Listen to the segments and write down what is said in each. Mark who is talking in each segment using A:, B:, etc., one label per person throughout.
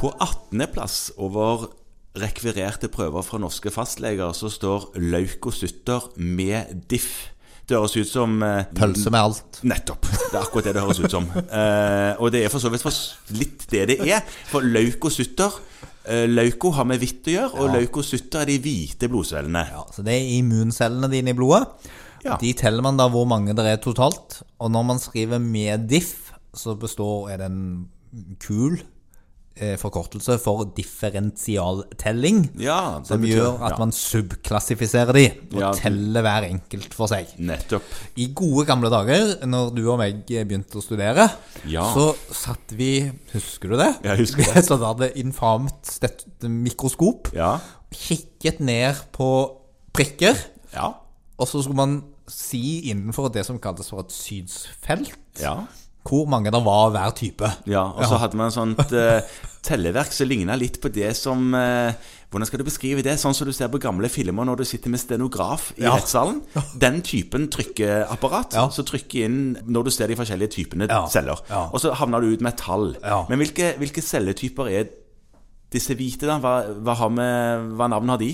A: På 18.-plass over rekvirerte prøver fra norske fastleger så står leukocytter med diff. Det høres ut som eh,
B: Pølse med alt.
A: Nettopp. Det er akkurat det det høres ut som. Eh, og det er for så vidt for s- litt det det er. For leukocytter eh, Leuko har med hvitt å gjøre, og leukocytter er de hvite blodcellene.
B: Ja, så det er immuncellene dine i blodet.
A: Ja.
B: De teller man da hvor mange det er totalt. Og når man skriver med diff, så består er det en kul eh, forkortelse for differensialtelling.
A: Ja, det
B: Som
A: betyr-
B: gjør at
A: ja.
B: man subklassifiserer de, og
A: Ja.
B: teller hver enkelt for seg.
A: Nettopp.
B: I gode gamle dager, når du og meg begynte å studere,
A: Ja.
B: så satt vi Husker du det?
A: Jeg husker det.
B: Vi satt og hadde infamt stett, mikroskop,
A: Ja.
B: kikket ned på prikker,
A: Ja.
B: og så skulle man si innenfor det som kalles for et synsfelt,
A: ja.
B: hvor mange det var av hver type.
A: Ja, og så hadde man et sånt eh, telleverk som ligna litt på det som eh, Hvordan skal du beskrive det? Sånn som du ser på gamle filmer når du sitter med stenograf i
B: Ja.
A: rettssalen. Den typen trykkeapparat.
B: Ja.
A: Så trykker inn når du ser de forskjellige typene
B: Ja.
A: celler.
B: Ja.
A: Og så havner du ut med et tall.
B: Ja.
A: Men hvilke, hvilke celletyper er disse hvite, da? Hva, hva, har med, hva navn har de?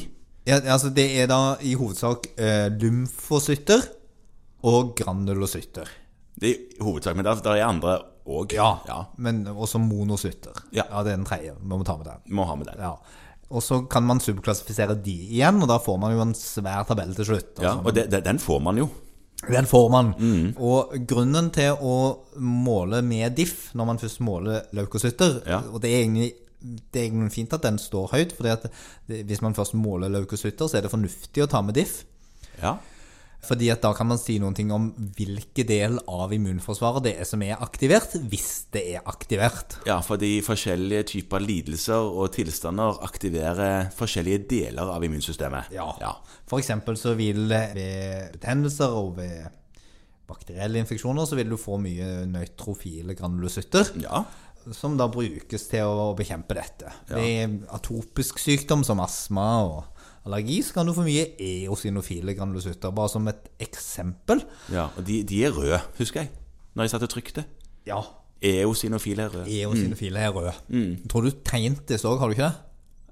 B: Ja, altså det er da i hovedsak eh, lymfocytter og granulocytter.
A: Det er i hovedsak, men der, der er andre òg.
B: Ja, men også monocytter.
A: Ja.
B: det er den tredje. Vi må ta med den.
A: Må ha med den.
B: Ja. Og så kan man subklassifisere de igjen, og da får man jo en svær tabell til slutt. altså.
A: Ja, og det, det, den får man jo.
B: Den får man.
A: Mm.
B: Og grunnen til å måle med diff når man først måler leukocytter,
A: Ja.
B: og det er egentlig det er egentlig fint at den står høyt, fordi at det, hvis man først måler leukocytter, så er det fornuftig å ta med diff.
A: Ja.
B: Fordi at da kan man si noen ting om hvilken del av immunforsvaret det er som er aktivert, hvis det er aktivert.
A: Ja, fordi forskjellige typer lidelser og tilstander aktiverer forskjellige deler av immunsystemet. ja.
B: For eksempel så vil ved betennelser og ved bakterielle infeksjoner så vil du få mye nøytrofile granulocytter,
A: Ja,
B: som da brukes til å bekjempe dette. Ved atopisk sykdom som astma og allergi så kan du få mye eosinofile granulocytter, bare som et eksempel.
A: ja. Og de, de er røde, husker jeg, når jeg satt og trykte.
B: Ja.
A: Eosinofile er røde.
B: Eosinofile er røde. Tror du tegnet disse òg, har du ikke det?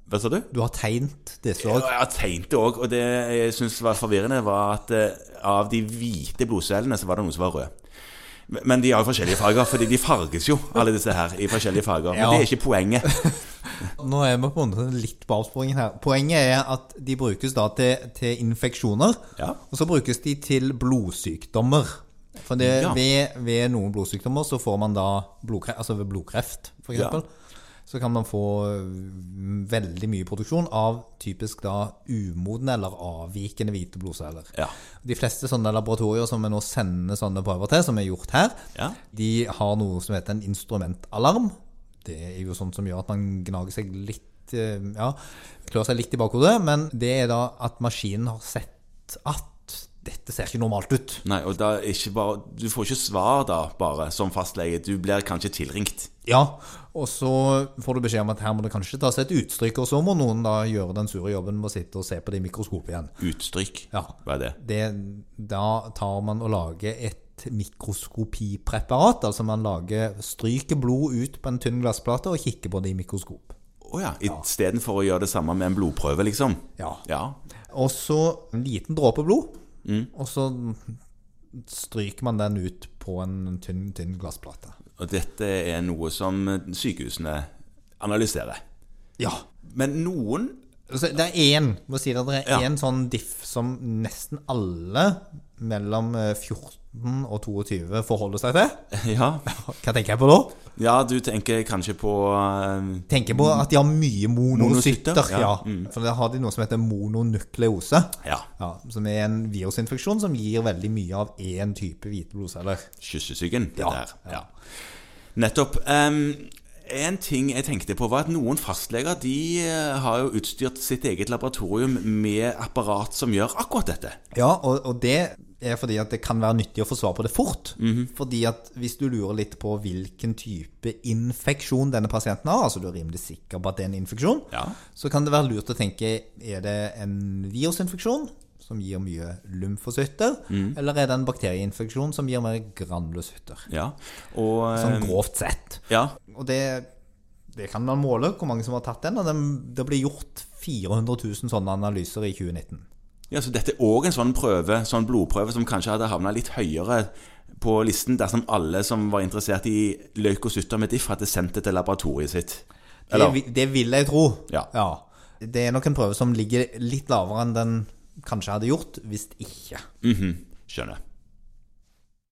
A: Hva sa du?
B: Du har tegnet disse
A: Og
B: òg.
A: jeg har tegnet det òg, og det jeg syns var forvirrende, var at eh, av de hvite blodcellene så var det noen som var røde. Men- Men de har jo forskjellige farger, fordi de farges jo, alle disse her, i forskjellige farger. Men
B: Ja.
A: det er ikke poenget.
B: Nå er vi på en måte litt på avsporingen her. Poenget er at de brukes da til, til infeksjoner,
A: Ja.
B: og så brukes de til blodsykdommer. For det,
A: Ja.
B: ved, ved noen blodsykdommer så får man da blodkreft, altså ved blodkreft for
A: Ja.
B: eksempel, så kan man få øh, veldig mye produksjon av typisk da umodne eller avvikende hvite blodceller.
A: Ja.
B: De fleste sånne laboratorier som vi nå sender sånne prøver til, som er gjort her,
A: Ja.
B: de har noe som heter en instrumentalarm. Det er jo sånt som gjør at man gnager seg litt eh, Ja, klør seg litt i bakhodet, men det er da at maskinen har sett at dette ser ikke normalt ut.
A: Nei, og da er ikke bare, du får ikke svar da, bare, som fastlege. Du blir kanskje tilringt.
B: Ja, og så får du beskjed om at her må det kanskje tas et utstrykk, og så må noen da gjøre den sure jobben med å sitte og se på det i mikroskopet igjen.
A: Utstrykk.
B: Ja.
A: Hva er det?
B: det, da tar man og lager et mikroskopipreparat, altså man lager, stryker blod ut på en tynn glassplate og kikker på det i mikroskop.
A: Å ja. Istedenfor å gjøre det samme med en blodprøve, liksom?
B: Ja.
A: Ja.
B: Og så en liten dråpe blod, og så stryker man den ut på en tynn, tynn glassplate.
A: Og dette er noe som sykehusene analyserer.
B: Ja.
A: Men noen
B: Så Altså, det er én, må si det, det
A: Ja.
B: er én sånn diff som nesten alle mellom eh, 14 og 22 forholder seg til.
A: Ja,
B: Hva tenker jeg på da?
A: ja du tenker kanskje på eh,
B: tenker på at de har mye monocytter.
A: Monocytter, ja. Mm.
B: ja. For da har de noe som heter mononukleose.
A: Ja.
B: Ja, som er en virusinfeksjon som gir veldig mye av én type hvite blodceller.
A: kyssesyken. Det
B: Ja,
A: der. Ja. Nettopp. Em, en ting jeg tenkte på, var at noen fastleger de eh, har jo utstyrt sitt eget laboratorium med apparat som gjør akkurat dette.
B: Ja, og, og det er fordi at det kan være nyttig å få svar på det fort.
A: Mhm.
B: Fordi at hvis du lurer litt på hvilken type infeksjon denne pasienten har, altså du er rimelig sikker på at det er en infeksjon,
A: Ja.
B: så kan det være lurt å tenke er det en virusinfeksjon som gir mye lymfocytter?
A: Mhm.
B: Eller er det en bakterieinfeksjon som gir mer granulocytter?
A: Ja. Og,
B: Sånn
A: eh,
B: grovt sett.
A: ja.
B: Og det, det kan man måle, hvor mange som har tatt den. Og den, det ble gjort 400 000 sånne analyser i 2019.
A: ja, så dette er òg en sånn prøve, sånn blodprøve som kanskje hadde havna litt høyere på listen dersom alle som var interessert i leukocytter med diff, hadde sendt det til laboratoriet sitt.
B: Det, vi- det vil jeg tro.
A: Ja.
B: Det er nok en prøve som ligger litt lavere enn den kanskje hadde gjort, hvis ikke.
A: Mhm, Skjønner.